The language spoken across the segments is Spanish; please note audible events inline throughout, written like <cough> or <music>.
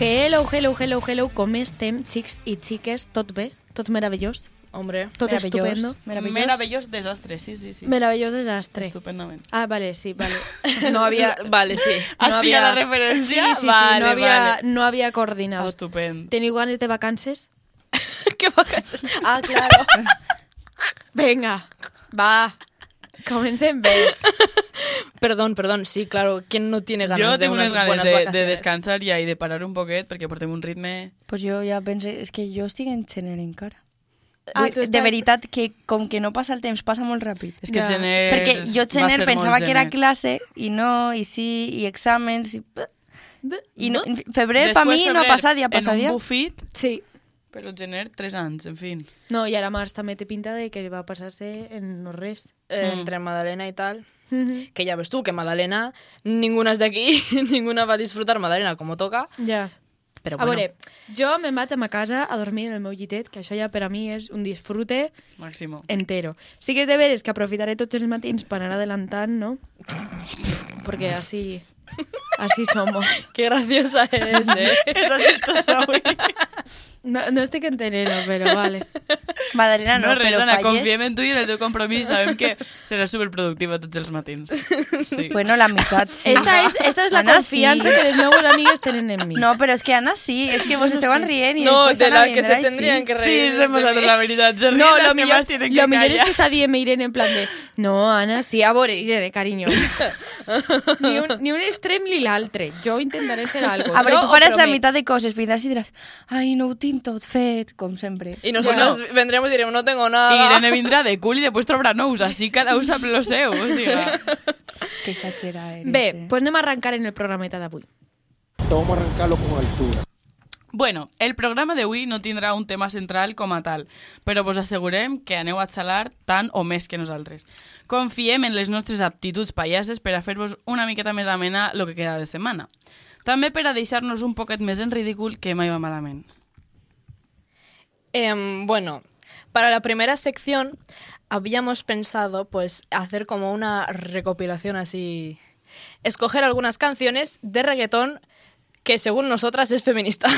hello, hello, hello, com estem, xics i xiques? Tot bé? Tot meravellós? Hombre, Tot Meravellós. estupendo? Meravellós. meravellós desastre, sí, sí, sí. Meravellós desastre. Estupendament. Ah, vale, sí, <laughs> vale. No había... Vale, sí. <laughs> Has No havia- pillat la referència? Sí, sí, sí, vale, no, havia, vale. no havia coordinado. Estupend. Teniu ganes de vacances? ¿Qué vacances? Ah, claro. Venga, va, comencem <laughs> bé. <laughs> Perdón, perdón. Sí, claro. ¿Quién no tiene ganas Jo de tinc unas unes ganes buenas de, de vacaciones? descansar ja i de parar un poquet perquè portem un ritme... Pues jo ja pensé, és que jo estic en gener encara. Ah, Ah, tu De estàs- veritat que com que no passa el temps, passa molt ràpid. És que Ja. ja. gener... Perquè jo va gener ser pensava molt que era gener. classe i no, i sí, i exàmens, i... I no, en febrer Després per mi no febrer, passa dia, passa en dia. un bufit, Sí. però gener, tres anys, en fi. No, i ara març també té pinta de que va passar-se en no res. Eh, Mm. Entre Madalena y tal. Mhm. Que ya ves tú, que Madalena, ninguna es de aquí, <laughs> ninguna va a disfrutar Madalena como toca. Ja. Pero a bueno, veure, jo me'n vaig a ma casa a dormir en el meu llitet, que això ja per a mi és un disfrute <laughs> Màximo. entero. Sí que és de veres que aprofitaré tots els matins per anar adelantant, no? Perquè així... Així somos. qué graciosa es, ¿eh? No, no estic entenent-ho, però vale. Madalena No, no no, res, però Anna, falles. confiem en tu i en el teu compromís. Sabem que seràs superproductiva tots els <laughs> matins. Sí. Bueno, la meitat, sí. <laughs> Esta és, esta és la Anna, confiança sí. que les meues amigues tenen en mi. No, però és que Anna sí, és que vos estaven rient i No, després de Anna la que vindrà se i tendrían sí. que Sí, reír. és de nosaltres, la veritat. Jordi, No, les lo que millor, más tienen que lo millor es callar. que está dient Irene en plan de no, Ana, sí, a veure, Irene, cariño. Ni un, ni un extrem ni l'altre. Jo intentaré fer algo. A veure, Jo tu ho faràs la promet. meitat de coses, vindràs i diràs, ai, no ho tinc tot fet, com sempre. Eh. Y nosotros vendremos y diremos, no tengo nada. I Irene vindrà de cul i després trobarà nous, així cada un sap lo seu. O sigui, Que exagera eres, Bé, eh? doncs pues anem a arrencar en el programeta d'avui. Vamos a arrancarlo con altura. Bueno, el programa d'avui no tindrà un tema central com a tal, però vos assegurem que aneu a xalar tant o més que nosaltres. Confiem en les nostres aptituds pallasses per a fer-vos una miqueta més amena el que queda de setmana. També per a deixar-nos un poquet més en ridícul que mai va malament. Em, bueno, para la primera sección habíamos pensado pues hacer como una recopilación así, escoger algunas canciones de reggaetón que según nosotras <laughs> es feminista.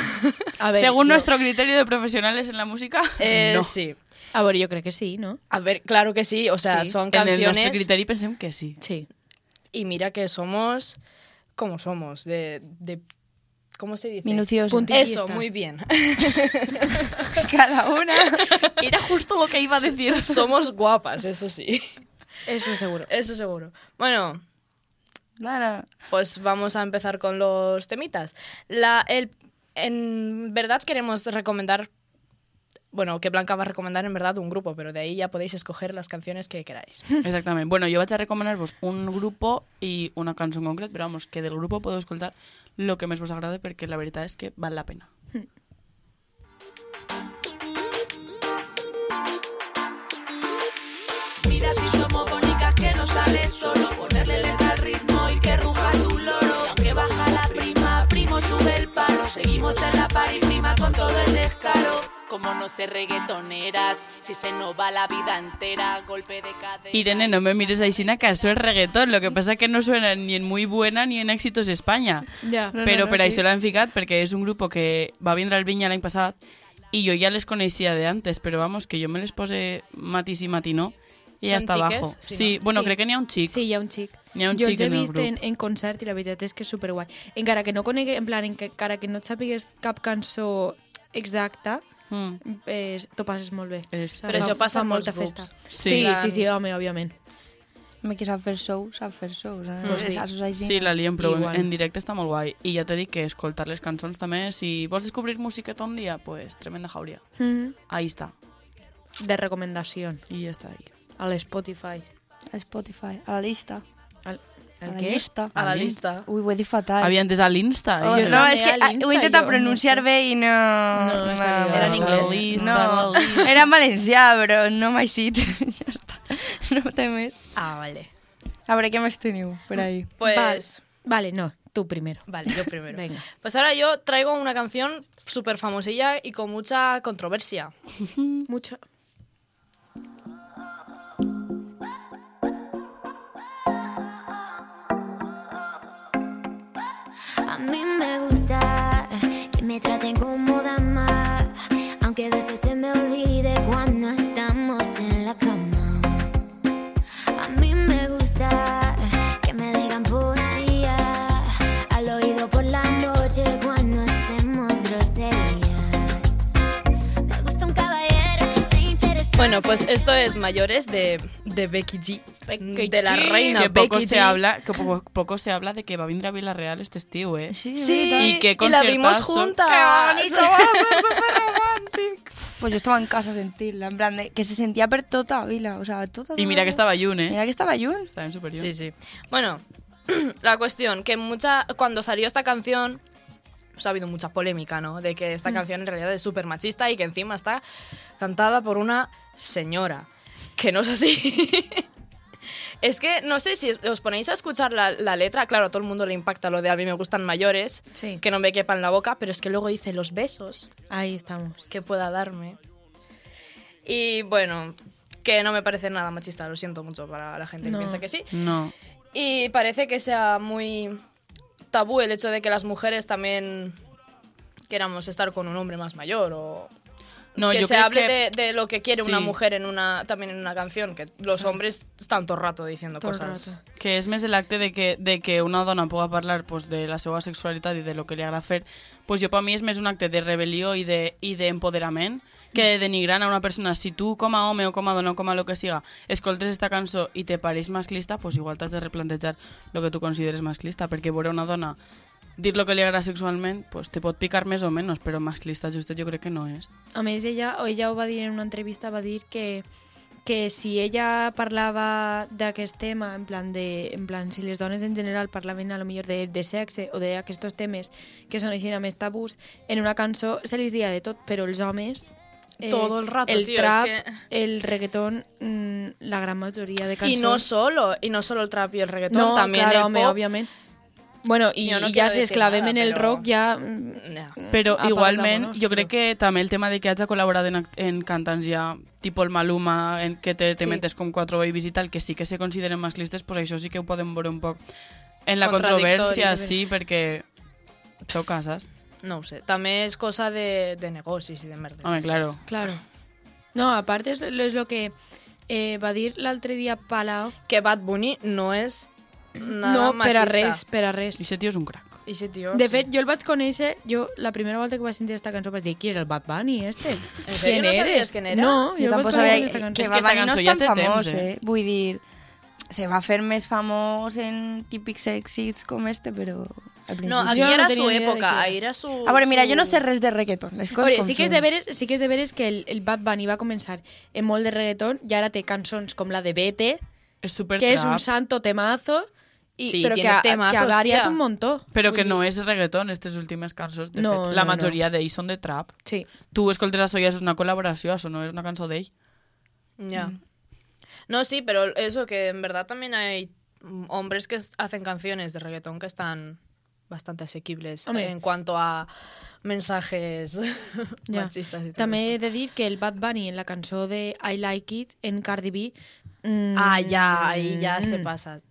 A ver, Según yo- nuestro criterio de profesionales en la música, Eh, no. Sí. A veure, jo crec que sí, no? A ver, claro que sí, o sea, Sí, son en el nostre canciones criteri pensem que sí. Sí. y mira que somos como somos, de, de- ¿cómo se dice? Minuciosos. Punti- Eso, Puntillistas. muy bien. <laughs> Cada una. Era justo lo que iba a decir. somos guapas, eso sí, Eso seguro. eso seguro. Bueno, Clara. Pues vamos a empezar con los temitas. La, el, en verdad queremos recomendar, bueno, que Blanca va a recomendar en verdad un grupo, pero de ahí ya podéis escoger las canciones que queráis. Exactament. Bueno, jo vaig a recomanar-vos un grupo i una cançó en concret, però vamos, que del grupo podeu escoltar lo que més vos agrade perquè la veritat és que val la pena. Mira si somos bonitas que no sale solo Ponerle letra al ritmo y que ruja tu loro Y aunque baja la prima, primo sube el paro Seguimos en la par y prima con todo el descaro Como no sé reggaetoneras Si se nos va la vida entera Golpe de cadera Irene, no me mires aixina, que això és reggaetón, lo que passa que no suena ni en Muy Buena ni en Éxitos España. Ja. No, però no, no, per sí. això l'han ficat, perquè és un grup que va vindre al Vinya l'any passat i jo ja les coneixia de antes, però vamos, que jo me les posé matís i matinó i ja Són està xiques? abajo. Sí, Sí, sí, bueno, Sí. sí. crec que n'hi ha un xic. Sí, hi ha un xic. N'hi ha un jo xic els he en el vist grup. en, en concert i la veritat és que és superguai. Encara que no conegui, en plan, encara que no et sàpigues cap cançó exacta, Mm. eh, t'ho passes molt bé. És- saps? Però això Fa passa en molta molts festa. grups. Sí, Sí. sí, sí, home, òbviament. Me que sap fer sou, sap fer sou. Eh? Mm. Pues Pues sí. sí. Saps, així. Sí, la lien, però Igual. en, en directe està molt guai. I ja t'he dit que escoltar les cançons també, si vols descobrir música tot un dia, pues tremenda jauria. Mhm. Ahí està. De recomendació. I ja està ahí. A l'Spotify. A Spotify, a la llista. El, A el la què? llista. A la lista. Ui, ho he dit fatal. Havia entès a l'Insta. Oh, jo. no, és que També a ah, l'insta ho he intentat jo, pronunciar no sé. bé i no... No, està m'ha- liada. Era en A la anglès. lista, a la No, lista. era en valencià, però no m'ha eixit. <laughs> ja està. No té més. Ah, vale. A veure, què més teniu per ahí? Pues... Vale, no, tú primero. Vale, yo <laughs> primero. Venga. Pues ahora yo traigo una canción súper famosilla y con mucha controversia. Mucho. A mí me gusta que me me traten como dama, aunque a veces se me olvide cuando estamos en la cama. A mí me gusta que me digan poesía al oído por la noche cuando hacemos groserías. Me gusta un caballero que esté interesante. Bueno, pues esto es Mayores de, de Becky G. Becky de la G, reina que poco Becky se G. habla que poco, poco se habla de que va a venir a Villarreal este estiu, eh? Sí, ¿verdad? Y qué y la vimos conciertazo. juntas. Pues yo estaba en casa sentirla, en plan de que se sentía per tota Vila, o sea, tota, Y mira que tota. estaba Jun, eh? Mira que estaba Jun. Estaba en superior. Sí, sí. Bueno, <clears throat> la cuestión, que mucha cuando salió esta canción, pues ha habido mucha polémica, ¿no? De que Mm. esta canción en realidad es súper machista y que encima está cantada por una señora, que no es así. <laughs> Es que no sé si os ponéis a escuchar la, la letra, claro, a todo el mundo le impacta lo de a mí me gustan mayores, Sí. que no me quepan la boca, pero es que luego dice los besos Ahí estamos. que pueda darme. Y bueno, que no me parece nada machista, lo siento mucho para la gente No. que piensa que sí. No. Y parece que sea muy tabú el hecho de que las mujeres también queramos estar con un hombre más mayor o No, que yo se creo hable que- de, de lo que quiere una sí. mujer en una también en una canción que los hombres están todo el rato diciendo Todo el cosas que és més el acte de que, de que una dona puga parlar pues, de la seva sexualitat i de lo que li agrada fer, pues jo per mi és més un acte de rebel·lió i de- i d'empoderament de, que de denigrar a una persona. Si tu com a home o com a dona o com a lo que siga escoltes esta cançó i te pareix masclista, pues igual t'has de replantejar lo que tu consideres masclista, perquè veure una dona dir lo que li agrada sexualment, pues te pot picar més o menys, però masclista justet jo crec que no és. A més, ella, o ella ho va dir en una entrevista, va dir que, que si ella parlava d'aquest tema, en plan, de, en plan, si les dones en general parlaven a lo millor de, de sexe o d'aquests temes que són així més tabús, en una cançó se li dia de tot, però els homes... eh, Todo el rato, el tío, es trap, que- el reggaetón, mm, la gran majoria de y cançons... no solo y no solo el trap y el reggaetón No, también claro, el home, pop. òbviament. Bueno, i, Jo no i ja quiero si es decir clavem nada, en el pero- rock ja... mm, Ya. Però Aparta, igualment, vámonos, jo crec però- que també el tema de que hagi col·laborat en, act- en cantants ja tipus el Maluma, en que te, te Sí. metes com quatre babies i tal, que sí que se consideren masclistes, pues això sí que ho podem veure un poc en la Contradictori, controvèrsia, sí. sí, perquè xoca, saps? no ho sé también es cosa de, de negocios y de merda Home, claro. Claro. No, aparte es lo, es lo que eh, va dir l'altre dia Palau. que Bad Bunny no es nada no, per a machista. res, per a res. I aquest tio és un crac. Y ese tío, De sí. fet, jo el vaig conèixer, jo la primera volta que vaig sentir aquesta cançó vaig dir, qui és el Bad Bunny este? En serio, no sabies quién era? No, Jo jo, el vaig tampoc conèixer sabia aquesta que, cançó. que És va que esta venir no cançó és ja tan té temps, famós, eh? eh? Vull dir, se va fer més famós en típics èxits com este, però al principi... No, No, ahí Yo no era tenía su ni idea de época, quién era. ahí era su... a veure, mira, su- jo no sé res de reggaeton, les coses Oye, com sí que és són. de veres, sí que és de veres que el, el Bad Bunny va començar en molt de reggaeton i ara té cançons com la de Vete, És super que és un trap, santo temazo, i, Pues Sí, però que tiene ha, que ha temazos, variat tía. un montó. però que no és reggaeton, aquestes últimes cançons. De No, fet, la no, no. majoria d'ells són de trap. Sí. Tu escoltes això i és una col·laboració, això no és una cançó d'ell. Ya. Mm. No, sí, pero eso que en verdad también hay mm, hombres que es- hacen canciones de reggaetón que están bastante asequibles Hombre. en cuanto a mensajes <laughs> Ja. machistas y todo També he eso. de dir que el Bad Bunny en la cançó de I Like It, en Cardi B... mm, Ah, ya, ahí ya se mm, pasa. se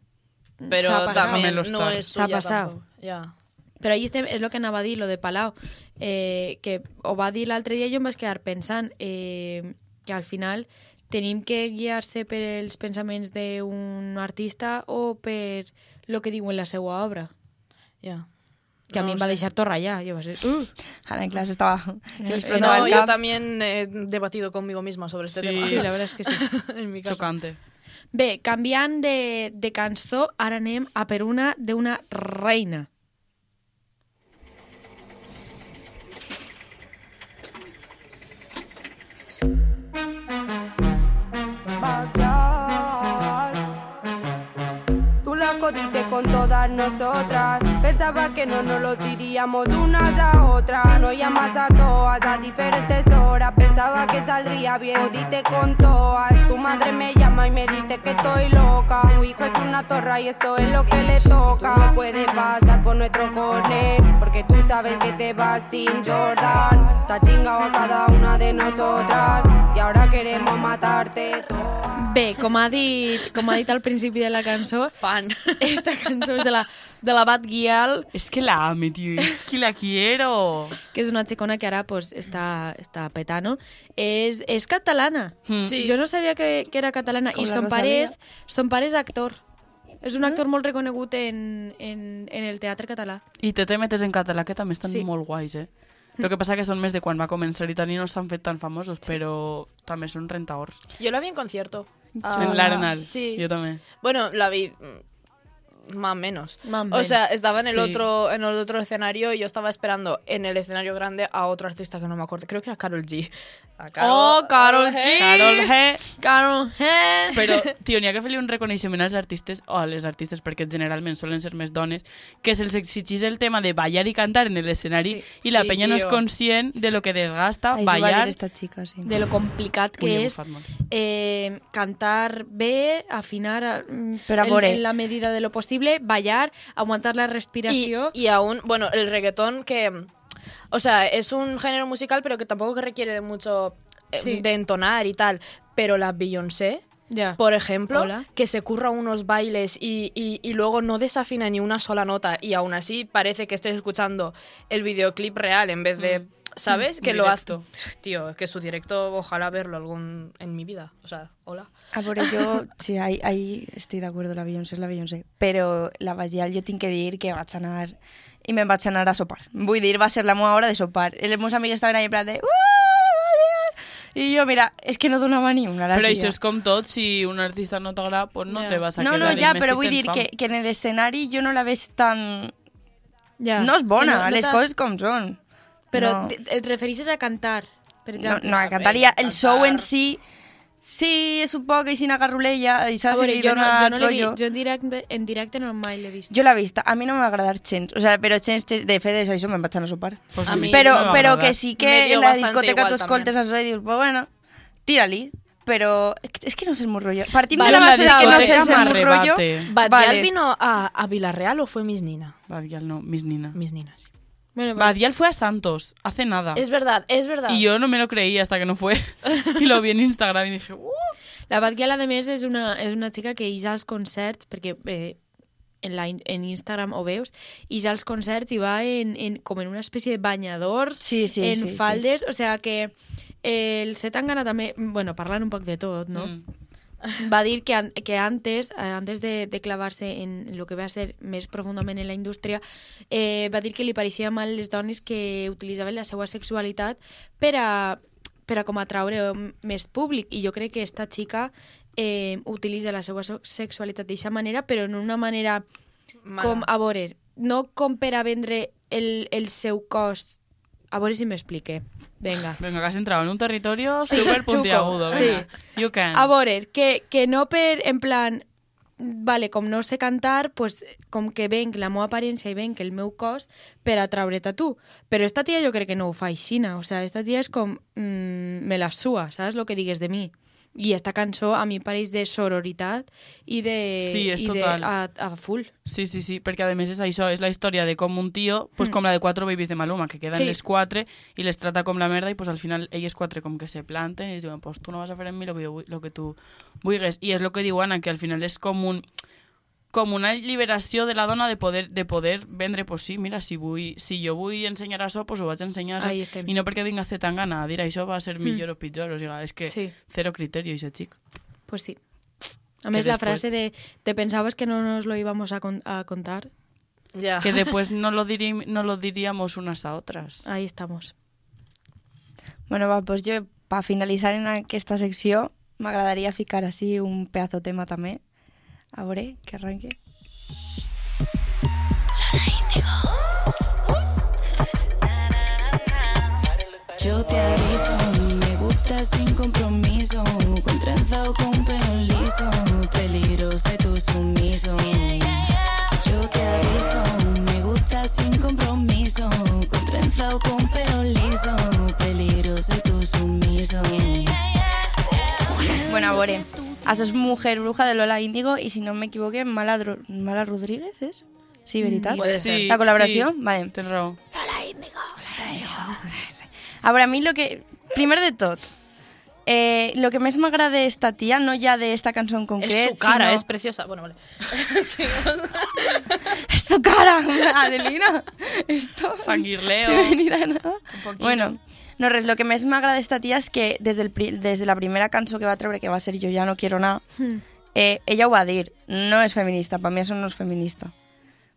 ha Pero pasado. también También no lo está. es Se ha suya pasado. tampoco. Ya. Però ahí estem, és el que anava a dir, lo de Palau, eh, que ho va dir l'altre dia i jo em vaig quedar pensant eh, que al final tenim que guiar-se per els pensaments d'un artista o per lo que diu en la seva obra. ya. Que a mi em va deixar tot ratllar. Jo va ser... Uh, Ara en classe estava... <laughs> Que els Eh, explotava No, el yo cap. también he debatido conmigo misma sobre este Sí. tema. <laughs> sí, la verdad és que sí. en mi caso. Xocante. Bé, canviant de, de cançó, ara anem a per una d'una reina. Bacán. Tú la jodiste con todas nosotras. Pensaba que no nos lo diríamos unas a otras. Nos llamas a todas a diferentes horas. Pensaba que saldría bien, jodiste con todas. Tu madre me llama y me dice que estoy loca. Tu hijo es una zorra y eso es lo que le toca. Tú no puedes pasar por nuestro cone, porque tú sabes que te vas sin Jordan. Te has chingado a cada una de nosotras. Y ahora que queremos matarte todas. Bé, com ha dit, com ha dit al principi de la cançó, Fan. <laughs> esta cançó és de la, de la Bat Guial, Es que la ame, tío. Es que la quiero. que és una xicona que ara pues, està, està petant-ho, és, és catalana. Mm. Sí. Jo no sabia que, que era catalana Com i la son Rosalía. pare, és, son pare és actor. És un actor molt reconegut en, en, en el teatre català. I te te metes en català, que també estan Sí. sí. molt guais, eh? El que passa que són més de quan va començar i tant i no s'han fet tan famosos, sí. però també són rentaors. Yo la vi en concierto. Ah, en l'Arenal, sí. jo també. Bueno, la vi mm, más o menos. Más o O sea, menos. estaba en el Sí. otro en el otro escenario y yo estaba esperando en el escenario grande a otro artista que no me acuerdo. Creo que era Carol G. A Oh, Karol G. Carol G. Carol, eh? Però, tio, n'hi ha que fer-li un reconeixement als artistes, o a les artistes, perquè generalment solen ser més dones, que se'ls exigís el tema de ballar i cantar en l'escenari Sí. i la Sí, penya no és tio. conscient de lo que desgasta Això va ballar. dir esta xica, sí. de lo complicat que Ui, he és bufat molt. eh, cantar bé, afinar mm, Però a en, veure. en la medida de lo posible, ballar, aguantar la Y, respiració... y aún, bueno, el reggaetón que... mm, O sea, es un género musical, pero que tampoco que requiere de mucho eh, Sí. de entonar y tal. Pero la Beyoncé, Ah, ja. por ejemplo, Hola. que se curra unos bailes y, y- y luego no desafina ni una sola nota y aún así parece que estés escuchando el videoclip real en vez de... Mm. ¿Sabes? Mm, Que lo hace... directo. Tío, es que su directo, ojalá verlo algún en mi vida. O sea, hola. A veure, <laughs> jo... Ah, Sí, ahí, ahí estic d'acord, la Beyoncé és la Beyoncé. Però la Ballal jo tinc que dir que vaig anar... I me'n vaig anar a sopar. Vull dir, va ser la meva hora de sopar. I Les meus amics estaven ahí en plan de... "Uah, I jo, mira, és que no donava ni una a la Però tia. això és com tot, si un artista no t'agrada, pues no Ja. te vas a No, quedar. no, i ja, més però si vull tens dir fam. que, que en l'escenari jo no la veig tan... ja. No és bona, Que les t'ha- coses com són. Però no. te- et refereixes a cantar, per No, exemple. no, a cantaria veure, el show en cantar. si... Sí, és un poc així una garrulella, i A saps? veure, I li jo, no, dona jo, no l'he rotllo. vist, jo en directe, en directe no mai l'he vist. Jo l'he vista, a mi no m'ha agradat gens. O sea, però gens, gens de fet, això me'n vaig anar a sopar. Pues A sí, mi- sí però, que m'ha però agradat. que sí Me que dio en la bastante discoteca igual tu escoltes això i dius, pues bueno, tira-li. Però és que no sé el meu rotllo. Partim Vale, de la la base de que no sé el discoteca meu rotllo. m'arrebate. ¿Bad Gyal vino a, a Villarreal o fue Miss Nina? Bad Gyal no, Miss Nina. Miss Nina, sí. Bueno, Bad Gyal fue a Santos, hace nada. Es verdad, es verdad. Ah. Y yo no me lo creí hasta que <laughs> no fue. y lo vi en Instagram y dije, "Uh". La Bad Gyal, a més, és una, és una xica que ix als concerts, perquè eh, en, la, in- en Instagram ho veus, ix als concerts i va en, en, com en una espècie de banyadors, Sí, sí, en sí, sí. faldes, o sea que eh, el C. Tangana també, bueno, parlant un poc de tot, no? Mm. va a decir que, an- que antes, eh, antes de, de clavarse en lo que va a ser més profundament en la indústria, eh, va dir que li pareixia mal les dones que utilitzaven la seva sexualitat per a, per a com atraure m- més públic. I jo crec que esta xica eh, utilitza la seva so- sexualitat d'aquesta manera, però en una manera Mala. com, a veure, no com per a vendre el, el seu cos. A veure si m'explique. Vinga. Venga, que has entrado en un territorio súper puntiagudo. Chuco, venga. You can. A veure, que, que no per, en plan, vale, com no sé cantar, pues, com que venc la meva aparència i venc el meu cos per atraure't a tu. Però esta tia jo crec que no ho fa aixina, o sea, esta tia és com, mm, me la sua, saps lo que digues de mi? I esta cançó a mi em pareix de sororitat i de... Sí, és i total. De, a, a full. Sí, sí, sí, perquè a més és això, és la història de com un tio, pues com la de Cuatro Babies de Maluma, que queden Hmm. Sí. les quatre i les trata com la merda i pues al final elles quatre com que se planten i es diuen, pues tu no vas a fer en mi lo que, jo vull- lo que tu vulguis. I és el que diu Anna, que al final és com un com una liberació de la dona de poder, de poder vendre, pues sí, mira, si, vull, si jo vull ensenyar això, pues ho vaig ensenyar. saps? Ahí estem. Hmm. I no perquè vinga a fer tan gana a dir això va ser millor o pitjor, o sigui, és que Sí. cero criterio, <laughs> i xic. Pues sí. A més, Que la després- frase de te pensabas que no nos lo íbamos a, con- a contar, Ya. Que después no lo, dirim, no lo diríamos unas a otras. ahí estamos. Bueno, va, pues jo, per finalitzar en aquesta secció, m'agradaria ficar així un pedazo tema també. A veure, que arranque. Yo te aviso, me gusta sin compromiso, con trenza o con pelo liso, peligrosa y tú sumiso. Yo te aviso, me gusta sin compromiso, con trenza o con pelo liso, peligrosa y tú sumiso. Bueno, a veure, això és Mujer Bruja de Lola Índigo i, si no m'equivoque, Mala, Dro- Mala Rodríguez, és? Sí, veritat? Puede ser. La colaboració? sí. Vale. Tens raó. Ahora, a mí lo que... Primero de todo, eh, lo que més m'agrada d'esta tia, no ja d'esta cançó en concret, Es su cara, sinó- es preciosa. Bueno, vale. <laughs> Sí, <laughs> <laughs> ¡Es su cara! O sea, Adelina, <laughs> esto... Fangirleo. sin venir a nada. poquito. Bueno, no res, lo que més m'agrada d'esta tia és que des, del, pri- des de la primera cançó que va treure, que va ser Jo ja no quiero nada, Hmm. eh, ella ho va dir, no és feminista, per mi això no és feminista.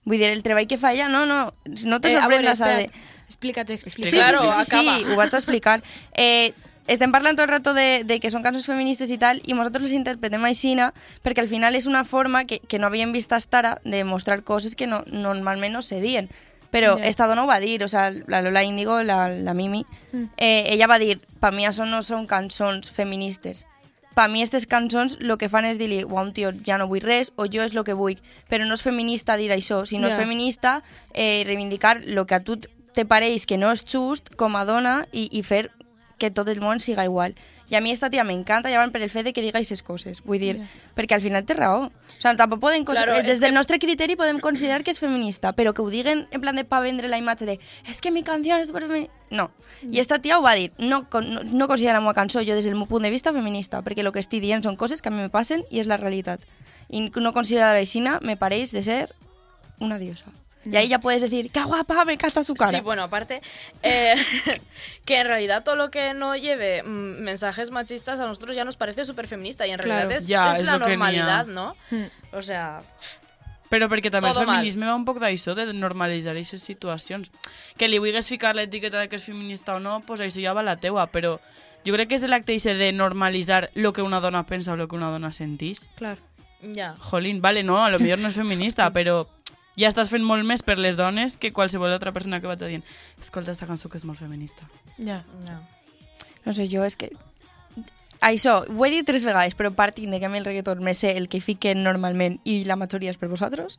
Vull dir, el treball que fa ella, no, no, no te Eh, a veure, sorprendes. a espera't. de... Explícate, Sí, Este, explícate. sí, Claro, sí, sí, sí, acaba. sí, ho vaig a explicar. Eh, estem parlant tot el rato de, de que són cançons feministes i tal, i nosaltres les interpretem aixina perquè al final és una forma que, que no havíem vist fins ara de mostrar coses que no, normalment no se dien. Però Ja. esta dona ho va dir, o sea, la Lola Índigo, la, la Mimi, Mm. eh, ella va dir, per mi això no són cançons feministes. Per mi aquestes cançons el que fan és dir-li, "Buah, un tio, ja no vull res, o jo és el que vull. Però no és feminista dir això, sinó Ja. és feminista eh, reivindicar el que a tu te pareix que no és just com a dona i, i fer que tot el món siga igual. I a mi esta tia m'encanta, ja van per el fet de que diga aquestes coses. Vull dir, perquè al final té raó. O sigui, tampoc podem... cons- Claro, eh, és des del nostre criteri podem considerar que és feminista, però que ho diguen en plan de pa vendre la imatge de és que mi canció és superfeminista... No. I esta tia ho va dir. No, con- no, no considera la meva cançó, jo des del meu punt de vista, feminista, perquè el que estic dient són coses que a mi me passen i és la realitat. I no considerar aixina me pareix de ser una diosa. Y ahí ya puedes decir, ¡qué guapa! Me encanta su cara. Sí, bueno, aparte, eh, <laughs> que en realidad todo lo que no lleve mm, mensajes machistas a nosotros ya nos parece súper feminista y en Claro. realidad es, Ya, es es la lo que Hmm. ni normalidad, ha- ¿no? O sea, Però perquè també Todo el mal. feminisme va un poc d'això, de normalitzar aquestes situacions. Que li vulguis ficar l'etiqueta de que és feminista o no, pues això ja va la teua, però jo crec que és l'acte ixe de normalitzar lo que una dona pensa o lo que una dona sentís. Claro. ya. Jolín, vale, no, a lo millor no és <laughs> feminista, però ja estàs fent molt més per les dones que qualsevol altra persona que vaig dient escolta esta cançó que és molt feminista. Ja. ya. No sé, yo es que... Això, ho he dit tres vegades, però partint de que a mi el reggaeton me sé el que fiquen normalment i la majoria és per vosaltres,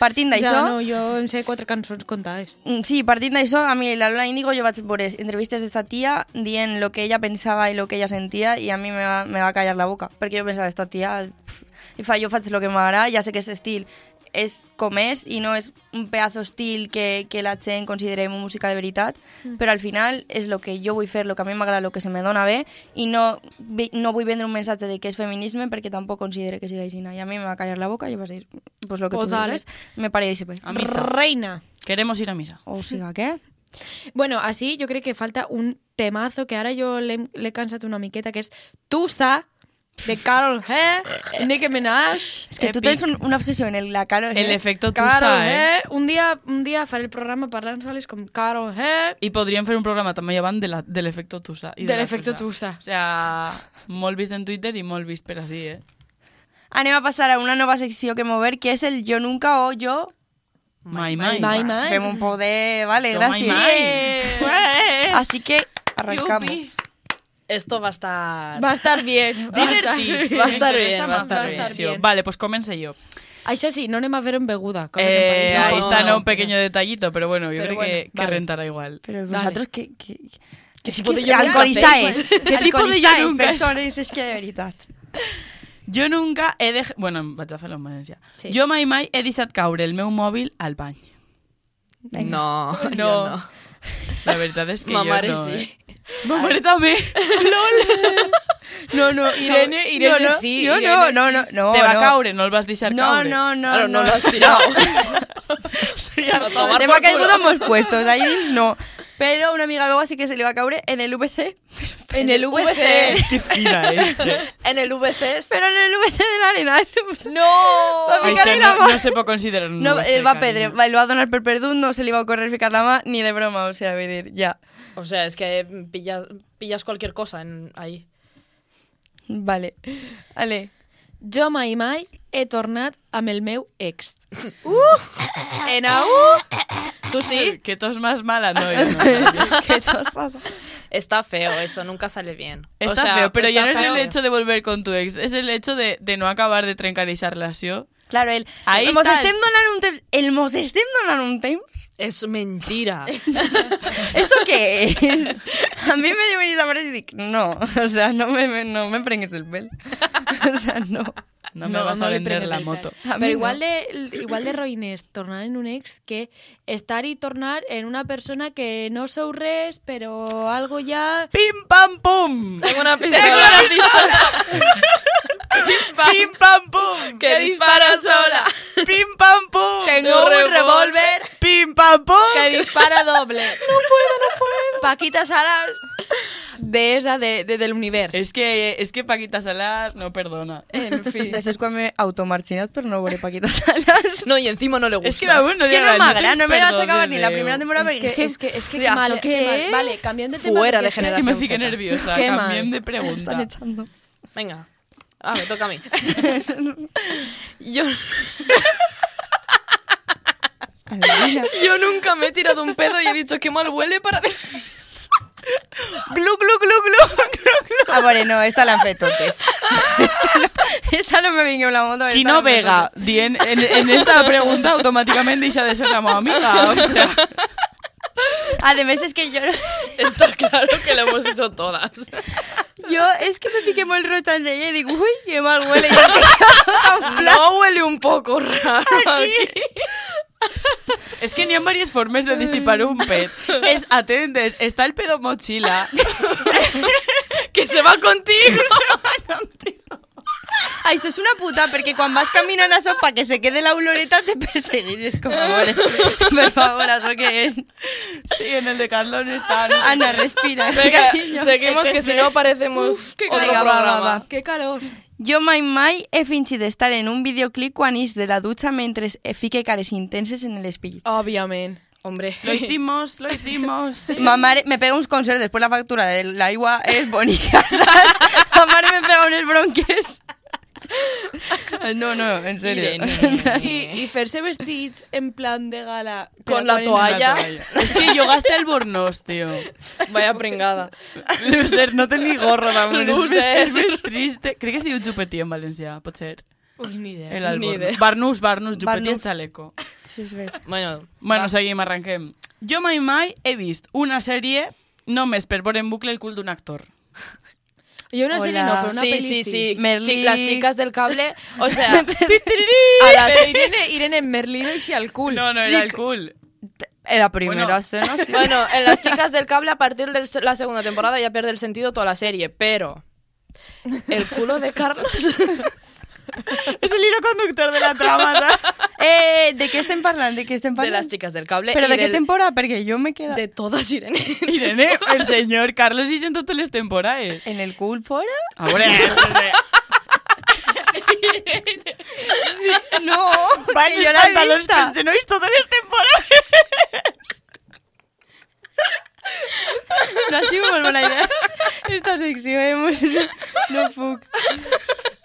partint d'això... Ja, no, jo em sé quatre cançons contades. Mm, Sí, partint d'això, a mi la Lola Índigo jo vaig veure entrevistes d'esta tia dient el que ella pensava i el que ella sentia i a mi me va, me va callar la boca, perquè jo pensava, esta tia, pff, i fa, jo faig el que m'agrada, ja sé que aquest estil és com és i no és un pedazo estil que, que la gent considerem música de veritat, Mm. però al final és el que jo vull fer, el que a mi m'agrada, el que se me dona bé i no, vi- no vull vendre un missatge de que és feminisme perquè tampoc considero que sigui així. I a mi me va callar la boca i jo vaig dir, pues lo que Pues pues tu dale. Ah. digues, me pareix bé. A missa. Reina. Queremos ir a missa. O siga, què? Bueno, así yo creo que falta un temazo que ahora yo le, le he cansado una miqueta, que es Tusa, de Carol G, Nicki Minaj. Es que tú tienes un- una obsesión en la cara. ¿eh? El efecto Carol Tusa, eh? G. Un día, un día faré el programa parlant soles con Carol G. I podríem fer un programa també llevant de la, de l'efecto Tusa. I De la l'efecto Tusa. O sea, molt vist en Twitter i molt vist per així, eh? Anem Ah, a pasar a una nueva sección que mover, que es el yo nunca o yo. Mai, mai. Mai, mai. Hacemos un poder, vale, Toma i gracias. mai. Así que arrancamos. Yupi. Esto va a estar... Va a estar <laughs> bien. Va a estar bien. Divertit. Va a estar bien, M'interessa va a estar molt bien. la secció. Vale, pues comencé yo. Això sí, no anem a veure en beguda. cosa que em Eh, pareix. ahí No, está, no, ¿no? Un pequeño detallito, pero bueno, yo Pero creo bueno, que, que vale. rentará igual. Pero Dale. vosotros, ¿qué, qué, qué, tipo de es yo nunca alcoholizáis? hacéis? ¿Qué tipo de yo nunca? personas es que de verdad? Jo nunca he dejat... Bueno, em vaig a fer l'homenatge. Sí. Jo mai mai he deixat caure el meu mòbil al bany. No, <laughs> yo No. no. La veritat <laughs> és que Ma mare jo no. sí. Eh? Ma mare també. LOL. No, no, Irene- Irene no, no, sí, Yo no, Irene no, no, no. Te va no. a caure, no el vas deixar No, caure. no, no. Claro, no, lo no. has tirado. <laughs> Estoy A harta. tomar Te va por a caer culo. todos los puestos, ahí no. Pero una amiga luego así que se le va a caure en el VC. En el VC. Eh, Qué fina és. En el VC es- Pero en el VC del <laughs> Arenal. No! pues, Va ficar Això en no, la mà. no se pot considerar un <laughs> No, UFC, él va a carinyo. pedre, va, lo va a donar per perdut, no se le va a correr ficar la mà ni de broma, o sea, vull dir, ja. O sea, es que pillas, pillas cualquier cosa en, ahí. Vale. Vale. Jo mai mai he tornat amb el meu ex. Uh! En au! ¿Tú <laughs> sí? Que tos más mala, <laughs> no. jo no. <laughs> Qué tosada. Está feo eso, nunca sale bien. Está o sea, feo, pero está ya no es feo. el hecho de volver con tu ex, es el hecho de, de no acabar de trencar esa relación. Claro, el... Ahí el mos estàs. estem donant un temps... El mos estem donant un temps? Es <laughs> mentira. ¿Eso qué es? <laughs> A mí me <laughs> dio venir a y dic, no, <laughs> o sea, no me, me- no me prengues el pèl. O sea, no. No me vas a le vender prengues la el moto. pelo. Pero igual de igual de roïnés tornar en un ex que estar y tornar en una persona que no sou res, però algo ja... ¡Pim, pam, pum! Tengo una pistola. ¡Tengo una pistola! ¡Pim, pam, <laughs> pum! Que dispara sola. ¡Pim, pam, pum! Tengo un revólver ¡Pim, pam, pum! que dispara doble. No puedo, no puedo. Paquita Salas de esa, de, de- del universo. Es que, es que Paquita Salas no perdona. En fin. Això és quan m'he automarxinat per no veure <laughs> Paquita Salas. No, y encima no le gusta. Es que aún no Es que llega, no m'agrada, tienes no me la vaig perdón acabar de ni la Déu. primera temporada Es que, perquè es que, es <laughs> que qué Dios, mal, ¿qué qué es? mal. Vale, cambiando de tema. Fuera porque de es que- Es que me Generación fiqué Z. nerviosa, Qué cambié mal. de pregunta. Están echando. Venga. Ah, me toca a mí. yo, Adivina. yo nunca me he tirado un pedo y he dicho que mal huele para despistar. Glu, glu, glu, glu, glu, glu. Ah, bueno, no, esta l'han <laughs> fet totes. Esta no, esta no me vingueu la moto. Qui no vega di en, en- en esta pregunta automáticamente deixa de ser la meva amiga. O sea, A més, és que jo, Está claro que lo hemos hecho todas. jo és que me fiqué molt roja en ella i dic, ui, que mal huele. I estic en plan, No huele un poco raro aquí. <laughs> es que ni en varias formas de disipar un pet. Es, atentes, está el pedo mochila. Que se va contigo. això és una puta, perquè quan vas caminant a sopa que se quede la oloreta te perseguís. És com, amores, per favor, això què és? Sí, en el de Carlón está. no sé Ana, qué. respira. Venga, cariño. seguimos que si no Oh, parecemos otro Venga, va, va, programa. va. Qué calor. Jo mai mai he fingit d'estar en un videoclip quan ix de la dutxa mentre e fique cares intenses en l'espill. Obviamente. Hombre. Lo hicimos, lo hicimos. Ma mare me pega uns concerts, després la factura de l'aigua és <laughs> bonica, saps? Ma mare me pega unes bronques. No, no, en sèrio. Irene. <laughs> Y, y Ferse vestits en plan de gala. Con Pero la el- toalla. Es que yo gasté el burnos, tío. Vaya pringada. Loser, no té ni gorro d'amor. És, més- Loser. és més trist. Crec que es diu jupetí en valencià, pot ser. Uy, ni idea. El Ni alborno. idea. Barnús, barnús, jupetí Barnús. el chaleco. Sí, és veritat. Bueno, Bueno, seguim, arrenquem. Jo mai mai he vist una sèrie només per veure en bucle el cul d'un actor. Yo una serie no, Hola. pero una sí, peli sí, sí. Merlí. Chi- Las chicas del cable, o <laughs> sea, A la Irene, Irene Merlino y Shialkul. No, no, era el cul. <laughs> Era primera Bueno. bueno. escena, sí. bueno, en Las chicas del cable a partir de la segunda temporada ya pierde el sentido toda la serie, pero el culo <laughs> de Carlos És el hilo conductor de la trama, <laughs> saps? Eh, de què estem parlant? De què estem de parlant? las chicas del cable Però y de què del- temporada? Perquè jo me queda... de todas Irene. Irene, el senyor Carlos i en totes les temporades. En el cul <laughs> fora? A veure, eh? no sé. No! <laughs> van que els jo l'he pantalons vista. pels genolls totes les temporades. No ha sigut molt bona idea. Esta secció, eh? mos- <laughs> No puc.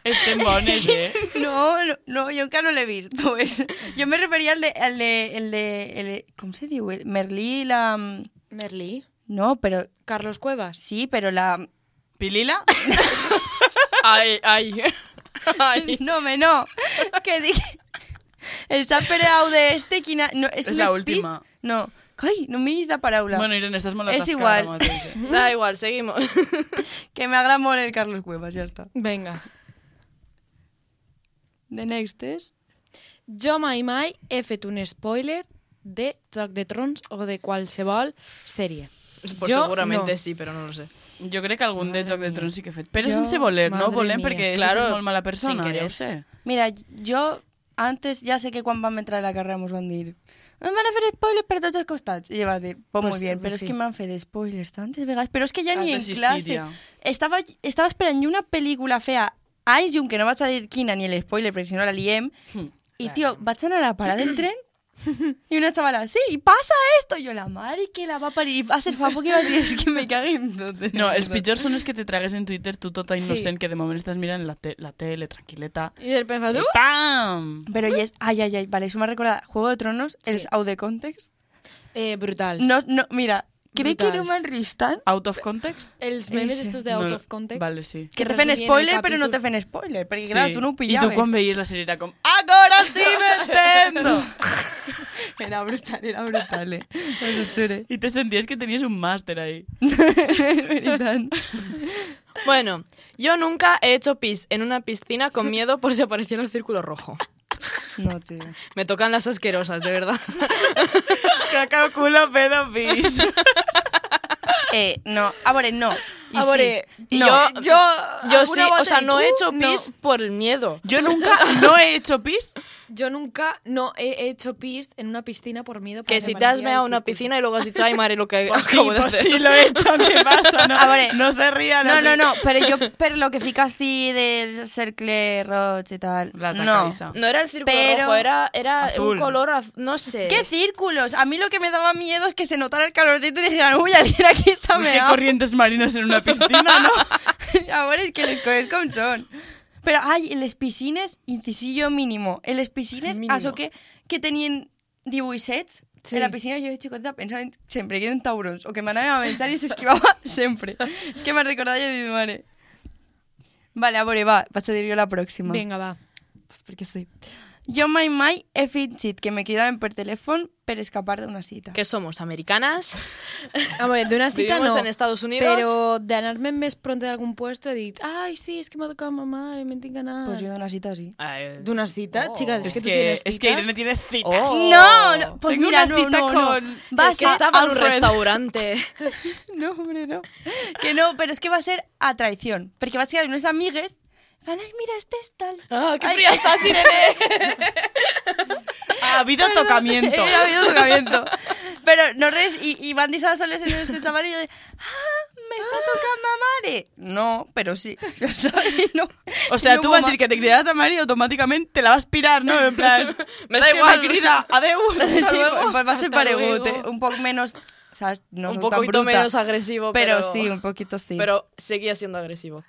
Estem <laughs> bones, eh? No, no, no, jo encara no l'he vist. <laughs> tu ves. Jo me referia al de... Al de, el de el, com se diu? El Merlí, la... mm, Merlí. No, però... Carlos Cuevas. Sí, però la... Pilila? Ay, ay. Ay. <laughs> No, me no. Que dic... El Saperau de este, quina... No, és És un la speech? última. No. Ai, no m'he la paraula. Bueno, Irene, estàs molt És atascada. igual. ara mateix, eh? Da igual, seguimos. Que m'agrada molt el Carlos Cuevas, ja està. Venga. The next és... Jo mai mai he fet un spoiler de Joc de Trons o de qualsevol sèrie. Pues Yo seguramente no. sí, pero no lo sé. Jo crec que algun de Joc de Trons sí que he fet. Però Jo- sense voler, no madre volem, mía. perquè claro, Claro, és molt mala sin persona, querer. ja ho sé. Mira, jo antes ja sé que quan vam entrar a la carrera mos van dir em van a fer spoilers per tots els costats. I jo vaig dir, pues, Pues muy sí, bien, pues però és sí. que m'han fet spoilers tantes vegades. Però és que ja Has ni en desistit, classe. ja. Estava, estava esperant una pel·lícula fea anys llum, que no vaig a dir quina ni l'espoiler, perquè si no la liem. I, tio, vaig anar a parar del tren i una xavala, sí, i passa esto. I jo, la mare que la va parir. I va ser fa poc i vaig dir, és que me caguen totes. No, els pitjors són els que te tragues en Twitter tu tota innocent, que de moment estàs mirant la, te la tele, tranquil·leta. I de repente fas... I "Uh!" pam! Però ja és... Ai, ai, ai, vale, això m'ha recordat. Juego de Tronos, sí. els out de context. Eh, brutals. No, no, mira, crec que no Brutals. me'n rius tant. Out of context? Els memes estos de out of context. Vale, sí. Que te resumen fan el spoiler, però capítol. no te fan spoiler, perquè, sí. clar, tu no ho I pillaves. tu quan veies la sèrie era com, agora sí me entendo! <laughs> Era brutal, era brutal, eh. Eso chure. Y te sentías que tenías un máster ahí. <laughs> Veritat. Bueno, yo nunca he hecho pis en una piscina <laughs> con miedo por si apareciera el círculo rojo. No, tío. Me tocan las asquerosas, de verdad. Caca, culo, pedo, pis. Eh, no, a veure, no. I A veure, sí. Y no. Eh, yo, Yo, yo ¿alguna sí, bota o sea, y no tú? he hecho No. pis por el miedo. Yo <laughs> nunca no he hecho pis. Yo nunca no he hecho pis en una piscina por miedo. Que porque si me te has parecía meado el una círculo. piscina y luego has dicho, ay, madre, lo que Pues sí, acabo de pues hacer. sí, lo he hecho. ¿Qué pasa? No, A veure. no se ría. No, no, se- no, <laughs> pero yo, pero lo que fica así del cercle roig y tal. La no. tacaísa. No era el círculo Pero- rojo, era, era Azul. un color, az- no sé. ¿Qué círculos? A mí lo que me daba miedo es que se notara el calorcito y dijeran, uy, alguien aquí está Uy, Qué meado. corrientes marinas en una piscina, ¿no? <laughs> Ahora es que les coges con son. Pero, ay, les piscines, incisillo mínimo. El Les piscines, Mínimo. això que, que tenien dibuixets, Sí. en la piscina jo de xicoteta pensava sempre que eren taurons, o que m'anava a pensar i <laughs> s'esquivava sempre. És que m'ha recordat i he dit, mare. Vale, a veure, va, vaig a dir jo la pròxima. Venga, va. Pues perquè sí. Jo mai mai he fingit que me cridaven per telèfon per escapar d'una cita. Que somos americanas. A ver, de una cita Vivimos no, en Estados Unidos. Pero de anarme mes pronto de algún puesto he dit, ay, sí, es que me ha tocado mamá y me tinga nada. Pues jo d'una cita sí. Ay, De una cita, Oh. chicas, es, Es que, tú que, tienes es citas. que Irene tiene citas. Oh. No, no, pues Tengo mira, una no, cita no, no. con- Va a que ser estaba en un Alfred. restaurante. No, hombre, no. Que no, pero es que va a ser a traición. Porque vas a quedar con unas amigues. Van, ay, mira, este es tal. Oh, ¡Ah, qué Ay, fría estás, Irene! Ha habido <laughs> tocamiento. Ha habido tocamiento. Pero no res, y, y van disasoles en este chaval y yo de, ah, me está tocando a mare. No, pero sí. <laughs> Y no- O sea, y no tú hubo vas a ma- decir que te criarás a María y automáticamente te la vas a pirar, ¿no? En plan, Me da es que igual. me crida, adeu, hasta <laughs> Sí, luego, pues va a ser hasta paregote. luego. Un poco menos, o sea, no un no tan poquito bruta, menos agresivo, pero, pero, sí, un poquito sí. Pero seguía siendo agresivo.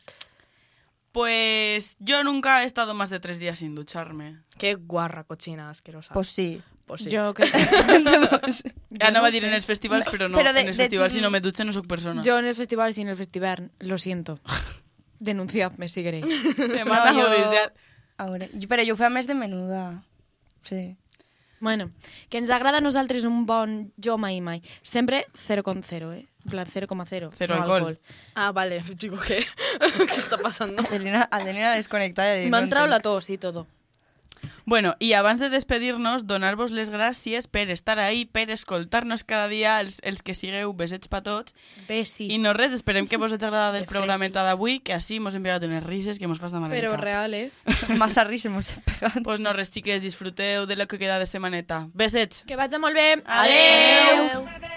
Pues yo nunca he estado más de tres días sin ducharme. Qué guarra, cochina, asquerosa. pues sí. Pues sí. <laughs> Yo creo que <laughs> Ya no no va a ir sé. en el festival, pero no. pero de- en el de- festival, si no me ducho, no soy persona. Yo en el festival, sí, en el festival, lo siento. <laughs> Denunciadme si queréis. <laughs> <laughs> Me No, manda yo- judicial. Ahora, pero yo fui a mes de menuda. Sí. <laughs> Bueno, que ens agrada a nosaltres un bon jo mai mai. Sempre 0,0, eh? En plan 0,0. Cero no alcohol. Ah, vale. <laughs> Digo, ¿qué? ¿Qué está pasando? Adelina, Adelina desconectada. de Me ha no entrado la entenc. tos y todo. Bueno, y abans de despedirnos, donar-vos les gràcies per estar ahí, per escoltar-nos cada dia, els, els que sigueu, besets pa tots. Besis. I no res, esperem que vos hagi agradat el Refreshis. programeta d'avui, que així mos hem pegat unes rises que mos fas de mal Pero real, eh? Más arris hemos pegado. Pues no res, xiques, disfruteu de lo que queda de setmaneta. Besets! Que vaig a molt bé. Adeu! Adeu. Me